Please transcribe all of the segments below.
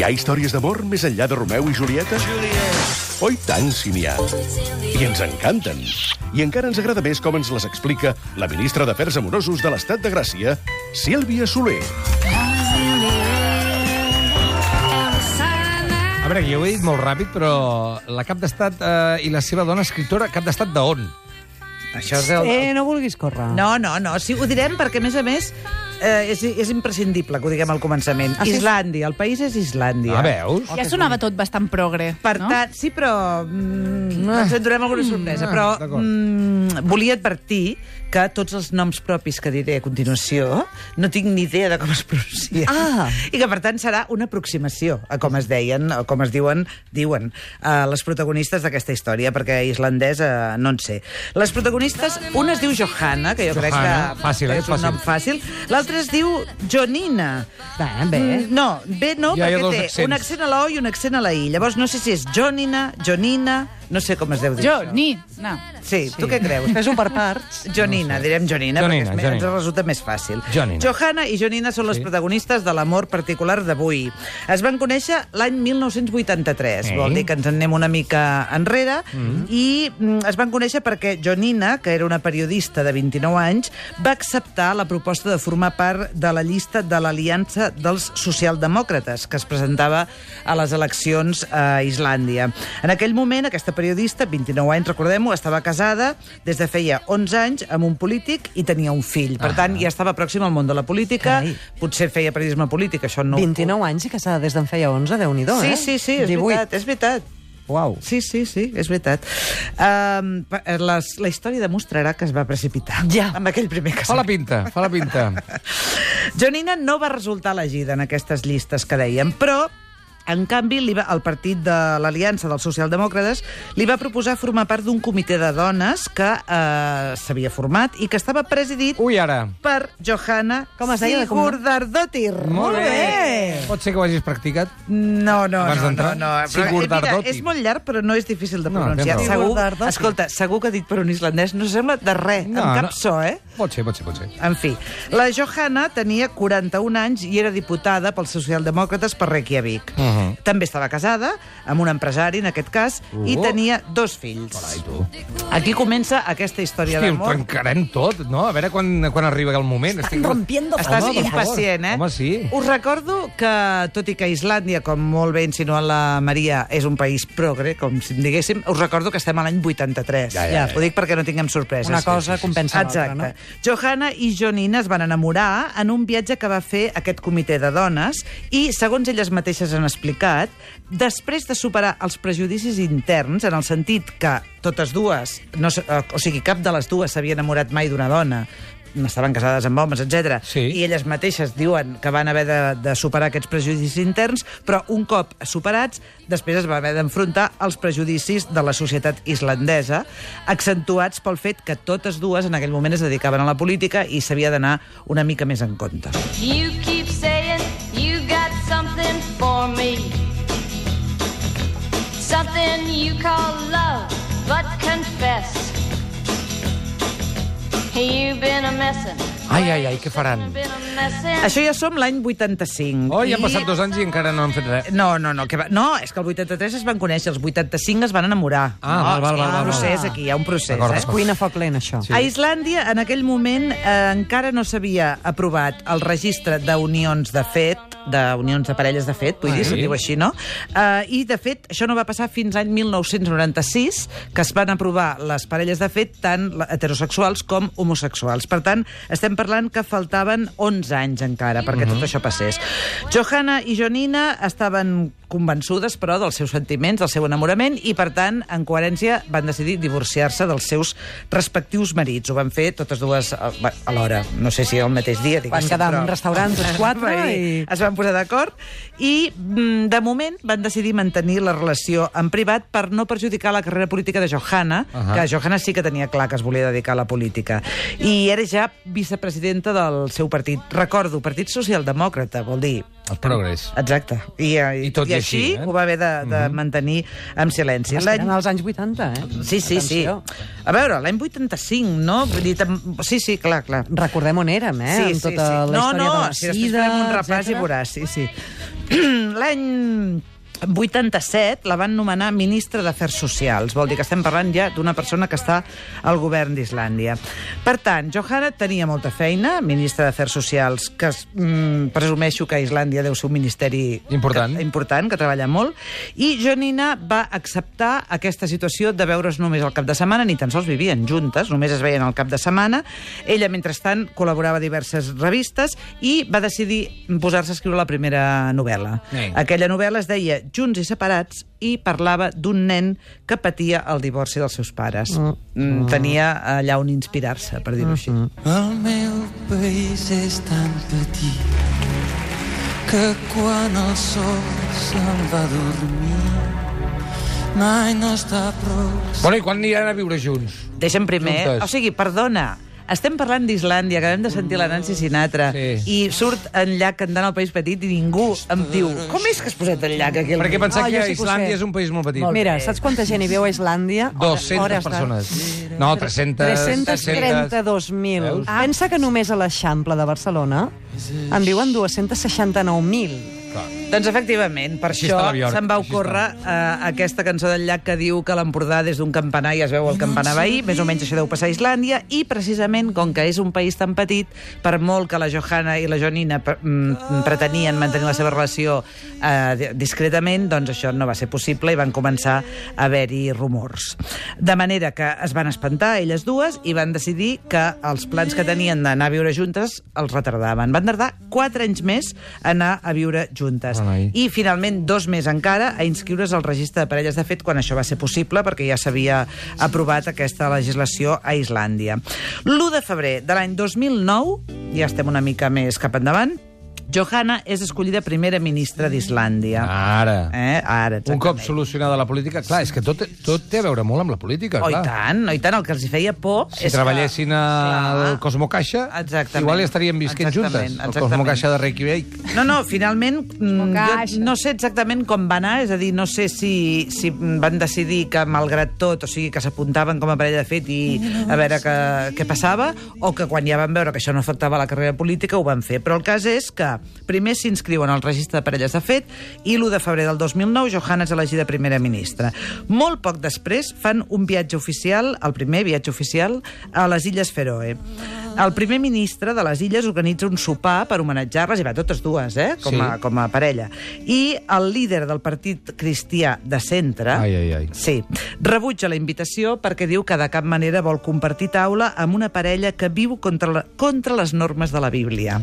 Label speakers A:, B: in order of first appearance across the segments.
A: Hi ha històries d'amor més enllà de Romeu i Julieta? Oi tant, si n'hi ha. I ens encanten. I encara ens agrada més com ens les explica la ministra d'Afers Amorosos de l'Estat de Gràcia, Sílvia Soler.
B: A veure, jo ho he dit molt ràpid, però la cap d'estat eh, i la seva dona escriptora, cap d'estat d'on?
C: Això és el...
D: Eh, no vulguis córrer.
C: No, no, no, sí, ho direm perquè, a més a més, eh, és, és imprescindible que ho diguem al començament.
E: Ah, sí?
C: Islàndia, el país és Islàndia.
B: Ah, veus?
E: Ja sonava tot bastant progre,
C: Per
E: no?
C: tant, sí, però mm, ens en donem alguna sorpresa.
B: ah,
C: Però
B: d'acord.
C: mm, volia advertir que tots els noms propis que diré a continuació no tinc ni idea de com es pronuncia.
D: Ah.
C: I que, per tant, serà una aproximació a com es deien, o com es diuen, diuen, a les protagonistes d'aquesta història, perquè islandesa eh, no en sé. Les protagonistes, una es diu Johanna, que jo crec que
B: Johanna, fàcil,
C: que
B: eh?
C: és un nom fàcil. L'altra es diu Jonina.
D: Bé, bé.
C: Mm, No, bé no,
B: Ja hi ha
C: perquè
B: dos
C: té
B: accents.
C: un accent a la O i un accent a la I. Llavors no sé si és Jonina, Jonina, no sé com es deu dir
E: Jo,
C: això.
E: ni, no.
C: Sí, tu què creus?
D: Fes-ho per parts.
C: Jonina, direm
B: Jonina,
C: Jonina, perquè és, més-
B: Jonina.
C: ens resulta més fàcil.
B: Jonina.
C: Johanna i Jonina són les protagonistes de l'amor particular d'avui. Es van conèixer l'any 1983,
B: Ei.
C: vol dir que ens en anem una mica enrere,
D: Mm-hmm.
C: i mm, es van conèixer perquè Jonina, que era una periodista de 29 anys, va acceptar la proposta de formar part de la llista de l'Aliança dels Socialdemòcrates, que es presentava a les eleccions a Islàndia. En aquell moment, aquesta periodista, 29 anys, recordem-ho, estava casada des de feia 11 anys amb un polític i tenia un fill. Per tant, ja estava pròxim al món de la política,
D: Ah. Carai.
C: potser feia periodisme polític, això no...
D: 29 anys i casada des d'en feia 11, déu-n'hi-do,
C: Sí,
D: eh?
C: sí, sí, és
D: 18.
C: veritat, és veritat.
B: Uau.
C: Sí, sí, sí, és veritat. Um, la, la història demostrarà que es va precipitar
D: Ja.
C: amb aquell primer
B: Fa la
C: casament.
B: pinta, fa la pinta.
C: Jonina no va resultar elegida en aquestes llistes que dèiem, però en canvi, li va, el partit de l'Aliança dels Socialdemòcrates li va proposar formar part d'un comitè de dones que eh, s'havia format i que estava presidit
B: Ui, ara.
C: per Johanna
D: Com es deia, de cognom?
C: Sigurdardóttir.
B: Pot ser que ho hagis practicat?
C: No, no,
B: Abans
C: no, no,
B: d'entrar?
C: no. Però, eh, mira,
B: Sigurdardóttir.
C: és molt llarg, però no és difícil de
B: No,
C: pronunciar.
B: tens raó.
C: segur,
D: Sigurdardóttir.
C: escolta, segur que dit per un islandès no sembla de res, no, amb cap so, eh?
B: Pot ser, pot ser, pot ser.
C: En fi, la Johanna tenia 41 anys i era diputada pels socialdemòcrates per Reykjavik. Uh
B: Mhm.
C: -huh. També estava casada amb un empresari, en aquest cas, uh. i
B: Oh.
C: tenia dos fills.
B: Ai, tu.
C: Aquí comença aquesta història
B: Hosti, ho
C: d'amor.
B: trencarem tot, no? A veure quan, quan arriba el moment. Estic...
D: rompiendo
C: Estàs
B: Home, per favor.
C: impacient, eh?
B: Home, sí.
C: Us recordo que, tot i que Islàndia, com molt bé insinuant la Maria, és un país progre, com si en diguéssim, us recordo que estem a l'any 83.
B: Ja, ja, ja.
C: Ho dic perquè no tinguem sorpreses.
D: Una cosa compensa l'altra,
C: Exacte.
D: no?
C: Johanna i Jonina es van enamorar en un viatge que va fer aquest comitè de dones i, segons elles mateixes han explicat, després de superar els prejudicis interns, en el sentit que totes dues, no, s- eh, o sigui, cap de les dues s'havia enamorat mai d'una dona, estaven casades amb homes, etc.
B: Sí.
C: I elles mateixes diuen que van haver de, de superar aquests prejudicis interns, però un cop superats, després es va haver d'enfrontar als prejudicis de la societat islandesa, accentuats pel fet que totes dues en aquell moment es dedicaven a la política i s'havia d'anar una mica més en compte.
F: You keep saying you got something for me. Something you call love, but confess. You've been a messin'.
B: Ai, ai, ai, què faran?
F: Been a messin'.
C: Això ja som l'any 85.
B: Oh, ja han
C: i-
B: passat dos anys i encara no han fet res.
C: No, no, no, que va... no, és que el 83 es van conèixer, els 85 es van enamorar.
B: Ah,
C: no,
B: val, val,
C: hi ha
B: val, val,
C: un
B: val.
C: procés aquí, hi ha un procés.
B: D'acord,
C: eh?
B: d'acord.
D: Cuina a foc lent, això.
C: Sí. A Islàndia, en aquell moment, eh, encara no s'havia aprovat el registre d'unions de fet, d'unions de parelles de fet, vull dir,
B: Sí.
C: se'n diu així, no? Eh, I, de fet, això no va passar fins any 1996, que es van aprovar les parelles de fet tant la- heterosexuals com homosexuals. Per tant, estem parlant que faltaven 11 anys encara perquè tot això passés. Johanna i Jonina estaven convençudes, però, dels seus sentiments, del seu enamorament, i, per tant, en coherència, van decidir divorciar-se dels seus respectius marits. Ho van fer totes dues eh, bé, alhora. No sé si el mateix dia,
D: Van
C: diguéssim,
D: quedar en
C: però...
D: un restaurant tots quatre
C: Vull dir,
D: i...
C: Es van posar d'acord i, mm, de moment, van decidir mantenir la relació en privat per no perjudicar la carrera política de Johanna, uh
B: Ahà.
C: -huh. que Johanna sí que tenia clar que es volia dedicar a la política. I era ja vicepresidenta del seu partit. Recordo, Partit Socialdemòcrata, vol dir...
B: El progrés.
C: Exacte. I,
B: I tot i així, eh?
C: ho va haver de, de mantenir en silenci. L'any-
D: Eren als anys 80, eh?
C: Sí, sí, sí.
D: Atenció.
C: A veure, l'any 85, no? Vull dir, tam- sí, sí, clar, clar.
D: Recordem on érem, eh? amb tota la
C: no,
D: història
C: no,
D: de la
C: si després
D: sida,
C: farem un repàs
D: etcètera.
C: i veuràs, sí, sí. L'any 87 la van nomenar ministra d'Afers Socials, vol dir que estem parlant ja d'una persona que està al govern d'Islàndia. Per tant, Johanna tenia molta feina, ministra d'Afers Socials, que mm, presumeixo que a Islàndia deu ser un ministeri
B: Important.
C: que, important, que treballa molt, i Jonina va acceptar aquesta situació de veure's només al cap de setmana, ni tan sols vivien juntes, només es veien al cap de setmana. Ella, mentrestant, col·laborava a diverses revistes i va decidir posar-se a escriure la primera novel·la.
B: Ei.
C: Aquella novel·la es deia Junts i separats i parlava d'un nen que patia el divorci dels seus pares. Mm. Tenia allà on inspirar-se, per dir-ho així.
E: El meu país és tan petit que quan el sol se'n va a dormir mai no està prou
B: Bueno, i quan aniran a viure junts?
C: Deixa'm primer...
B: Juntes.
C: O sigui, perdona, estem parlant d'Islàndia, acabem de sentir la Nancy Sinatra,
B: Sí.
C: i surt en llac cantant al País Petit i ningú em diu com és que has posat el llac aquí? al
B: Perquè
C: mig?"
B: pensar
D: Ah,
B: que
D: jo sí que ho sé.
B: Islàndia és un país molt petit.
D: Mira, saps quanta gent hi viu a Islàndia?
B: 200
D: Hores- hores de-
B: persones. No, 300...
D: 332.000. Ah. Pensa que només a l'Eixample de Barcelona en viuen 269.000.
C: Doncs efectivament, per
B: Així
C: això
B: està Nova York,
C: se'n va
B: així
C: ocórrer eh, aquesta cançó del llac que diu que l'Empordà des d'un campanar ja es veu el campanar veí, més o menys això deu passar a Islàndia, i precisament, com que és un país tan petit, per molt que la Johanna i la Jonina pre- mm, pretenien mantenir la seva relació eh, di- discretament, doncs això no va ser possible i van començar a haver-hi rumors. De manera que es van espantar elles dues i van decidir que els plans que tenien d'anar a viure juntes els retardaven. Van tardar 4 anys més a anar a viure juntes.
B: Carai.
C: I i finalment dos més encara a inscriure's al registre de parelles de fet quan això va ser possible perquè ja s'havia aprovat aquesta legislació a Islàndia. L'1 de febrer de l'any 2009, ja estem una mica més cap endavant, Johanna és escollida primera ministra d'Islàndia.
B: Ara.
C: Eh? Ara,
B: Ah. Un cop
C: exactament.
B: solucionada la política... Clar, és que tot, tot té a veure molt amb la política,
C: Oh, i
B: clar.
C: tant, oh, i tant, el que els hi feia por...
B: Si
C: és
B: treballessin
C: que...
B: al
C: Clar.
B: Cosmo Caixa,
C: Exactament.
B: igual estaríem visquent
C: Exactament,
B: juntes. Al
C: exactament.
B: Cosmo Caixa de Reykjavik.
C: No, no, finalment mm, jo no sé exactament com va anar, és a dir, no sé si, si van decidir que malgrat tot, o sigui, que s'apuntaven com a parella de fet i a veure que, què passava, o que quan ja van veure que això no afectava la carrera política ho van fer. Però el cas és que primer s'inscriuen al registre de parelles de fet i l'1 de febrer del 2009 Johanna és elegida primera ministra. Molt poc després fan un viatge oficial, el primer viatge oficial, a les Illes Feroe. El primer ministre de les Illes organitza un sopar per homenatjar-les, i va totes dues, eh? com, a,
B: Sí.
C: com a parella. I el líder del partit cristià de centre...
B: Ai, ai, ai.
C: Sí. Rebutja la invitació perquè diu que de cap manera vol compartir taula amb una parella que viu contra, la, contra les normes de la Bíblia.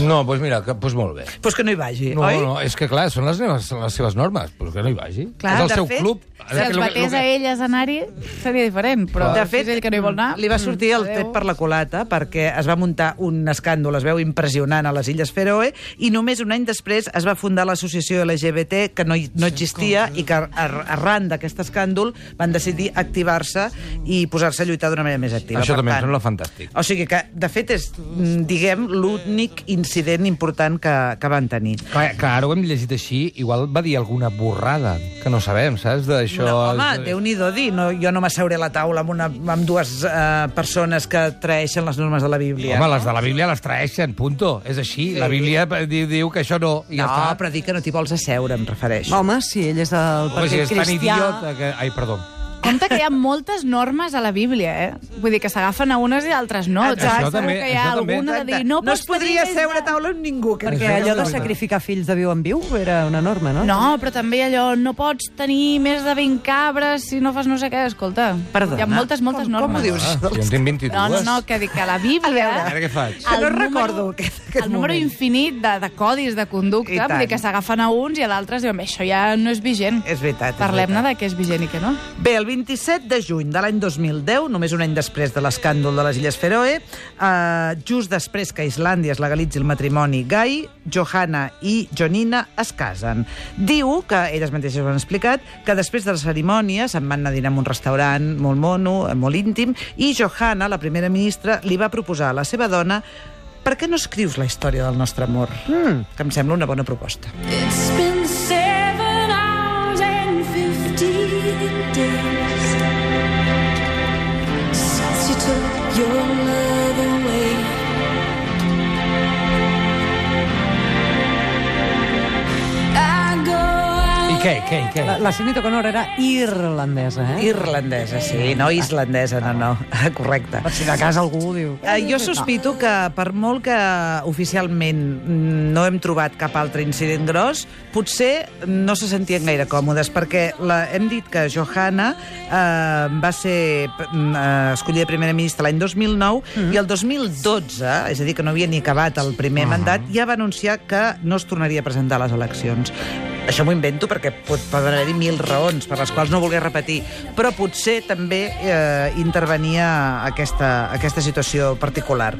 B: No, doncs mira, que, doncs molt bé.
C: Pues que no hi vagi,
B: No,
C: oi?
B: no, és que clar, són les, meves, les seves normes, però que no hi vagi.
G: Clar,
B: és el
C: de
B: seu
C: fet,
B: club.
G: Si els batés a elles a anar-hi, seria diferent, però
C: De
G: si
C: fet,
G: és ell que no hi vol anar...
C: li va sortir el
G: adéu.
C: tret per la culata perquè es va muntar un escàndol, es veu impressionant a les Illes Feroe, i només un any després es va fundar l'associació LGBT que no, hi- no existia
G: eh?
C: i que ar- ar- arran d'aquest escàndol van decidir activar-se i posar-se a lluitar d'una manera més activa.
B: Això
C: Per
B: també em
C: tant,
B: sembla fantàstic.
C: O sigui que, de fet, és, mm, diguem, l'únic incident important que, que van tenir.
B: Clar, clar, ara ho hem llegit així, igual va dir alguna borrada, que no sabem, saps? D'això...
C: No, home, Déu-n'hi-do dir, no, jo no m'asseuré a la taula amb, una, amb dues eh, persones que traeixen les normes de la Bíblia.
B: Home, les de la Bíblia les traeixen, punto. És així. Sí. La Bíblia diu, diu que això no. I
C: No,
B: ja està.
C: però dir que no t'hi vols asseure, em refereixo.
D: Home, si ell és del
B: Home, si
D: partit
B: és tan
D: cristià...
B: idiota que... Ai, perdó.
G: Compte que hi ha moltes normes a la Bíblia, eh? Vull dir que s'agafen a unes i a altres no.
B: Exacte.
G: Exacte.
B: Això també,
G: que hi ha
B: això també.
G: alguna de dir...
C: no,
G: No,
C: no es
G: pots
C: podria
G: tenir més
C: seure a
G: de-
C: taula amb ningú. Que
D: Perquè allò de sacrificar fills de viu en viu era una norma, no?
G: No, però també allò, no pots tenir més de 20 cabres si no fas no sé què, escolta.
C: Perdona,
G: Hi ha moltes, moltes
C: com- com ho
G: normes.
C: dius?
B: Ah, jo en tinc 22.
G: No, no, no, que dic que la Bíblia...
B: A veure què faig.
C: Que no
G: el
C: recordo aquest- aquest
G: El número
C: moment.
G: infinit de, de codis de
C: I
G: conducta,
C: tant.
G: vull dir que s'agafen a uns i a d'altres diuen, "Bé, això ja no és vigent.
C: És veritat, és
G: Parlem-ne
C: veritat.
G: de què és vigent i què no.
C: Bé, el 27 de juny de l'any 2010, només un any després de l'escàndol de les Illes Feroe, eh, just després que a Islàndia es legalitzi el matrimoni gai, Johanna i Jonina es casen. Diu, que elles mateixes ho han explicat, que després de la cerimònia se'n van anar a dinar en un restaurant molt mono, eh, molt íntim, i Johanna, la primera ministra, li va proposar a la seva dona per què no escrius la història del nostre amor? Mm. Que em sembla una bona proposta.
H: It's been seven hours and fifteen days since you took your love away.
B: què, què, què?
D: La, la Signe O'Connor era irlandesa, eh?
C: Irlandesa, sí, no islandesa, no, no. Correcte.
D: Per si de cas algú diu...
C: Eh, jo sospito que, per molt que oficialment mm, no hem trobat cap altre incident gros, potser no se sentien gaire còmodes, perquè la, hem dit que Johanna eh, va ser p- mm, eh, escollida primera ministra l'any 2009 i el 2012, és a dir, que no havia ni acabat el primer mandat, ja va anunciar que no es tornaria a presentar a les eleccions. Això m'ho invento perquè pot, pot haver-hi mil raons per les quals no voler repetir, però potser també eh, intervenia aquesta, aquesta situació particular.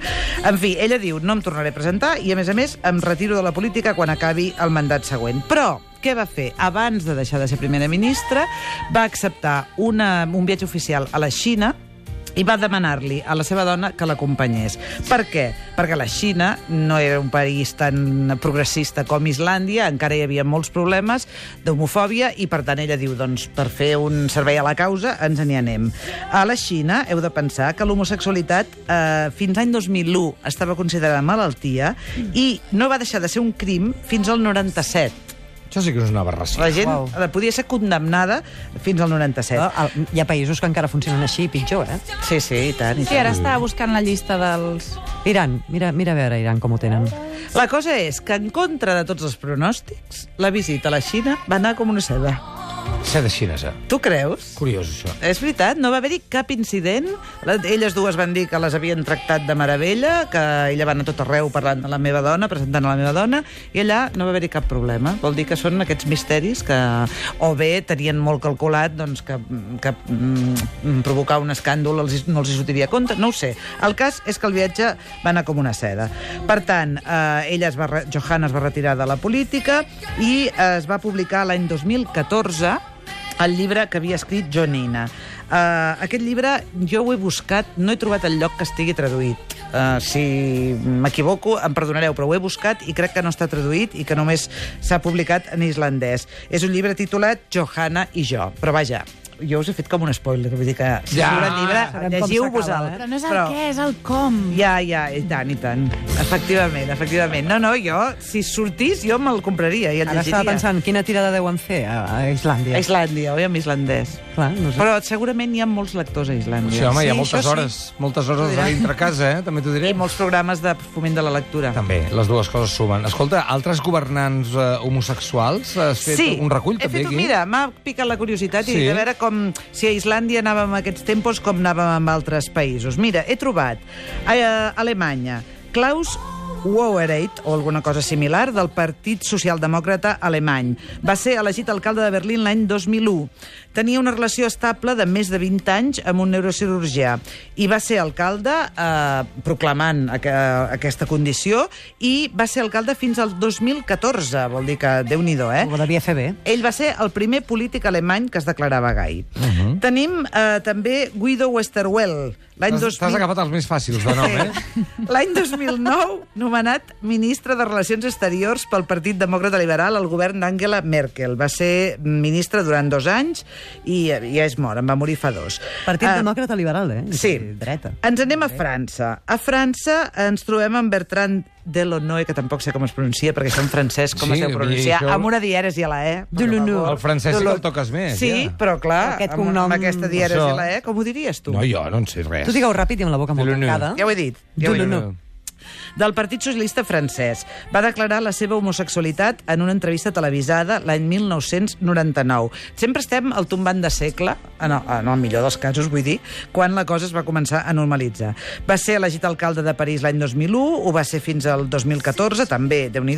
C: En fi, ella diu, no em tornaré a presentar i, a més a més, em retiro de la política quan acabi el mandat següent. Però què va fer? Abans de deixar de ser primera ministra, va acceptar una, un viatge oficial a la Xina i va demanar-li a la seva dona que l'acompanyés. Per què? Perquè la Xina no era un país tan progressista com Islàndia, encara hi havia molts problemes d'homofòbia i, per tant, ella diu, doncs, per fer un servei a la causa, ens n'hi anem. A la Xina heu de pensar que l'homosexualitat eh, fins any 2001 estava considerada malaltia i no va deixar de ser un crim fins al 97.
B: Això sí que és una aberració.
C: La gent
D: Uau.
C: eh, podia ser condemnada fins al 97.
D: Ah, al- Hi ha països que encara funcionen així, pitjor, eh?
C: Sí, sí, i tant, i
G: Sí,
C: tant.
G: ara estava buscant la llista dels...
D: Iran, mira, mira a veure Iran com ho tenen.
C: La cosa és que, en contra de tots els pronòstics, la visita a la Xina va anar com una seda.
B: Ser de xinesa.
C: Tu creus?
B: Curiós, això.
C: És veritat, no va haver-hi cap incident. La- Elles dues van dir que les havien tractat de meravella, que ella va anar a tot arreu parlant de la meva dona, presentant a la meva dona, i allà no va haver-hi cap problema. Vol dir que són aquests misteris que o bé tenien molt calculat doncs, que, que mm, provocar un escàndol els, no els hi sortiria a compte, no ho sé. El cas és que el viatge va anar com una seda. Per tant, eh, ella es va, re- Johanna es va retirar de la política i eh, es va publicar l'any 2014 el llibre que havia escrit Jonina. Uh, aquest llibre jo ho he buscat, no he trobat el lloc que estigui traduït. Uh, si m'equivoco, em perdonareu, però ho he buscat i crec que no està traduït i que només s'ha publicat en islandès. És un llibre titulat Johanna i jo, però vaja, jo us he fet com un spoiler, vull dir que si
B: Ja,
C: ja, el llibre,
D: sabem com
C: llegiu-vos-el.
D: s'acaba, eh?
G: Però no és el què, és el com.
C: Ja, ja, i tant, i tant. Efectivament, efectivament. No, no, jo, si sortís, jo me'l compraria i el
D: Ara
C: llegiria.
D: estava pensant quina tirada deuen fer a, a Islàndia.
C: A Islàndia, oi, en islandès.
D: Clar, no sé.
C: Però segurament hi ha molts lectors a Islàndia.
B: Sí, home, hi ha moltes
C: això
B: hores, moltes hores a dintre casa, eh? també t'ho
C: Sí.
B: diré.
C: I molts programes de foment de la lectura.
B: També, les dues coses sumen. Escolta, altres governants eh, homosexuals, has fet
C: sí,
B: un recull
C: he
B: també
C: fet un,
B: aquí?
C: mira, m'ha picat la curiositat
B: Sí.
C: i de veure com si a Islàndia anàvem a aquests tempos com anàvem amb altres països. Mira, he trobat a, a Alemanya Klaus Wowereit, o alguna cosa similar, del Partit Socialdemòcrata Alemany. Va ser elegit alcalde de Berlín l'any 2001. Tenia una relació estable de més de 20 anys amb un neurocirurgià i va ser alcalde eh, proclamant aqu aquesta condició i va ser alcalde fins al 2014, vol dir que Déu-n'hi-do, eh?
D: Ho devia fer bé.
C: Ell va ser el primer polític alemany que es declarava gai. Uh
B: Mhm.
C: -huh. Tenim eh, també Guido Westerwell, l'any
B: T'has
C: 2000...
B: t'has agafat els més fàcils de nom, eh?
C: L'any 2009, nomenat ministre de Relacions Exteriors pel Partit Demòcrata Liberal al govern d'Angela Merkel. Va ser ministre durant dos anys i eh, ja és mort, en va morir fa dos.
D: Partit
C: Ah,
D: Demòcrata Liberal, eh?
C: Sí.
D: Dreta.
C: Ens anem a França. A França ens trobem amb Bertrand Delanoë, que tampoc sé com es pronuncia, perquè això en francès com
B: Sí,
C: es deu pronunciar,
B: i això-
C: amb una dièresi a la E. per
D: Delanoë.
C: favor.
B: El francès sí que el
C: Delo-
B: toques més,
C: Sí,
B: ja.
C: però clar,
D: Aquest
C: amb,
D: cognom-
C: amb aquesta dièresi
B: Això-
C: a la E, com ho diries tu?
B: No, jo no en sé res.
D: Tu digueu ràpid i amb la boca molt
B: Deloneu.
D: tancada.
C: Eh. Ja ho he dit. Ja ho he dit.
D: Deloneu.
C: Del Partit Socialista francès. Va declarar la seva homosexualitat en una entrevista televisada l'any 1999. Sempre estem al tombant de segle, ah, en el, en el millor dels casos, vull dir, quan la cosa es va començar a normalitzar. Va ser elegit alcalde de París l'any 2001, ho va ser fins al 2014, també, déu nhi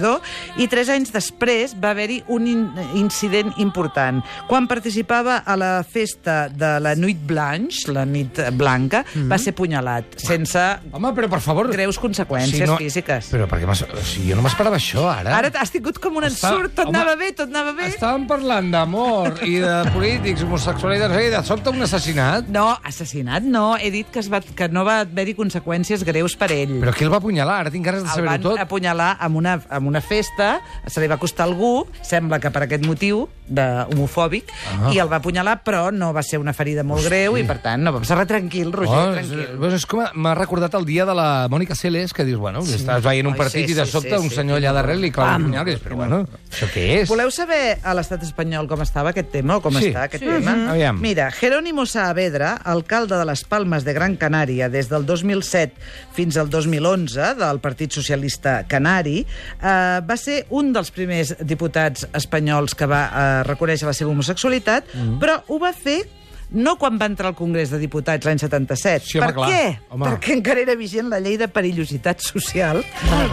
C: i tres anys després va haver-hi un in incident important. Quan participava a la festa de la Nuit Blanche, la nit blanca, mm -hmm. va ser punyalat, sense
B: Home, però per favor...
C: greus conseqüències
B: O sigui,
C: físiques.
B: Però perquè m'has- o sigui, jo no m'esperava això, ara.
C: Ara has tingut com un
B: Està-
C: ensurt, tot
B: home,
C: anava bé, tot anava bé.
B: Estàvem parlant d'amor i de polítics, homosexualitat, no sé, i de sobte un assassinat.
C: No, assassinat no, he dit que, es va, que no va haver-hi conseqüències greus per ell.
B: Però qui el va apunyalar? Ara tinc ganes de
C: el
B: saber-ho
C: van
B: tot.
C: apunyalar amb una, amb una festa, se li va acostar algú, sembla que per aquest motiu, de homofòbic, ah. i el va apunyalar, però no va ser una ferida molt Hosti. greu, i per tant, no, va passar res tranquil, Roger,
B: Oh,
C: tranquil.
B: és, és com m'ha recordat el dia de la Mònica Celes, que que dius, bueno, sí. estàs veient un
C: Ai,
B: partit
C: sí,
B: i de
C: sí,
B: sobte
C: sí,
B: un
C: sí.
B: senyor allà darrere li clava un punyal i dius, però bueno, això què és?
C: Voleu saber a l'estat espanyol com estava aquest tema o com
B: Sí.
C: està aquest
B: Sí,
C: tema?
B: sí. Aviam.
C: Mira, Jerónimo Saavedra, alcalde de les Palmes de Gran Canària des del 2007 fins al 2011 del Partit Socialista Canari, eh, va ser un dels primers diputats espanyols que va eh, reconèixer la seva homosexualitat,
B: Mm-hmm.
C: mm -hmm. però ho va fer no quan va entrar al Congrés de Diputats l'any 77.
B: Sí, home,
C: per
B: clar.
C: què?
B: Home.
C: Perquè encara era vigent la llei de perillositat social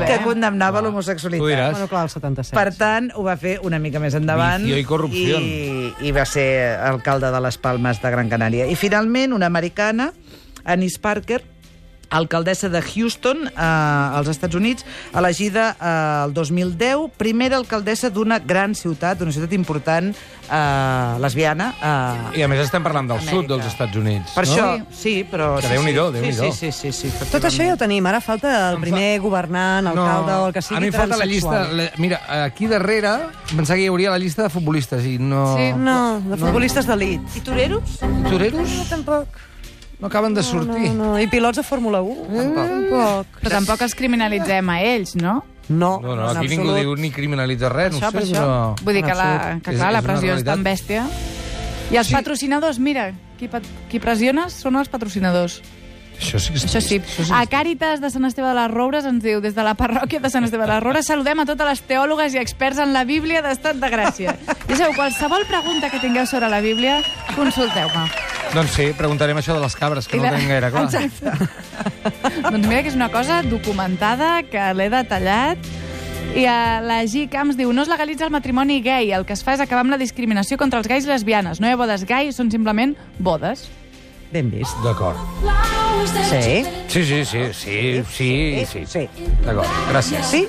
C: que condemnava
B: Ah. Tu
C: l'homosexualitat.
B: diràs.
D: Bueno, clar, el 77.
C: Per tant, ho va fer una mica més endavant.
B: Vicio i corrupció.
C: I, I va ser alcalde de les Palmes de Gran Canària. I finalment, una americana, Anis Parker, alcaldessa de Houston, eh, als Estats Units, elegida eh, el 2010, primera alcaldessa d'una gran ciutat, d'una ciutat important eh, lesbiana. Eh,
B: I a més estem parlant del
G: Amèrica.
B: sud dels Estats Units,
C: per
B: no?
C: això, sí, però...
B: Que
C: sí,
B: Déu-n'hi-do,
C: sí,
B: Déu-n'hi-do.
C: Sí, sí, sí, sí, sí,
D: Tot això ja ho tenim. Ara falta el
B: Em fa-
D: primer governant, alcalde o el que sigui
B: a mi em falta la llista...
D: transsexual.
B: La, mira, aquí darrere pensava que hi hauria la llista de futbolistes i no...
G: Sí.
D: No, de futbolistes d'elit.
C: I toreros?
B: Toreros
D: Tampoc.
B: no acaben de
D: No,
B: sortir.
D: no. I pilots de Fórmula 1? Tampoc. Tampoc.
G: Però tampoc els criminalitzem a ells, no?
D: No,
B: No, no, aquí ningú diu ni criminalitza res,
D: Oh, Això,
B: no
D: per
B: ho sé,
D: això.
B: però...
G: Vull dir que, la,
B: Absolut.
G: que
B: És-
G: clar, la
B: és una
G: pressió és
B: realitat.
G: tan bèstia. I els
B: Sí.
G: patrocinadors, mira, qui, pat- qui pressiona són els patrocinadors.
B: Això sí que és
G: Això sí.
B: trist, Això sí.
G: A Càritas de Sant Esteve de les Roures ens diu, des de la parròquia de Sant Esteve de les Roures, saludem a totes les teòlogues i experts en la Bíblia d'Estat de Gràcia. Ja sabeu, qualsevol pregunta que tingueu sobre la Bíblia, consulteu-me.
B: Doncs sí, preguntarem això de les cabres, que
G: I
B: no
G: la-
B: ho tenim gaire clar.
G: Exacte. doncs mira que és una cosa documentada, que l'he detallat, i a la G. Camps diu no es legalitza el matrimoni gai, el que es fa és acabar amb la discriminació contra els gais i lesbianes. No hi ha bodes gai, són simplement bodes.
D: Ben vist.
B: D'acord.
H: Flowers that
D: Sí.
B: Sí, sí, sí, sí, sí, sí.
D: Sí.
B: D'acord, gràcies.
D: Sí?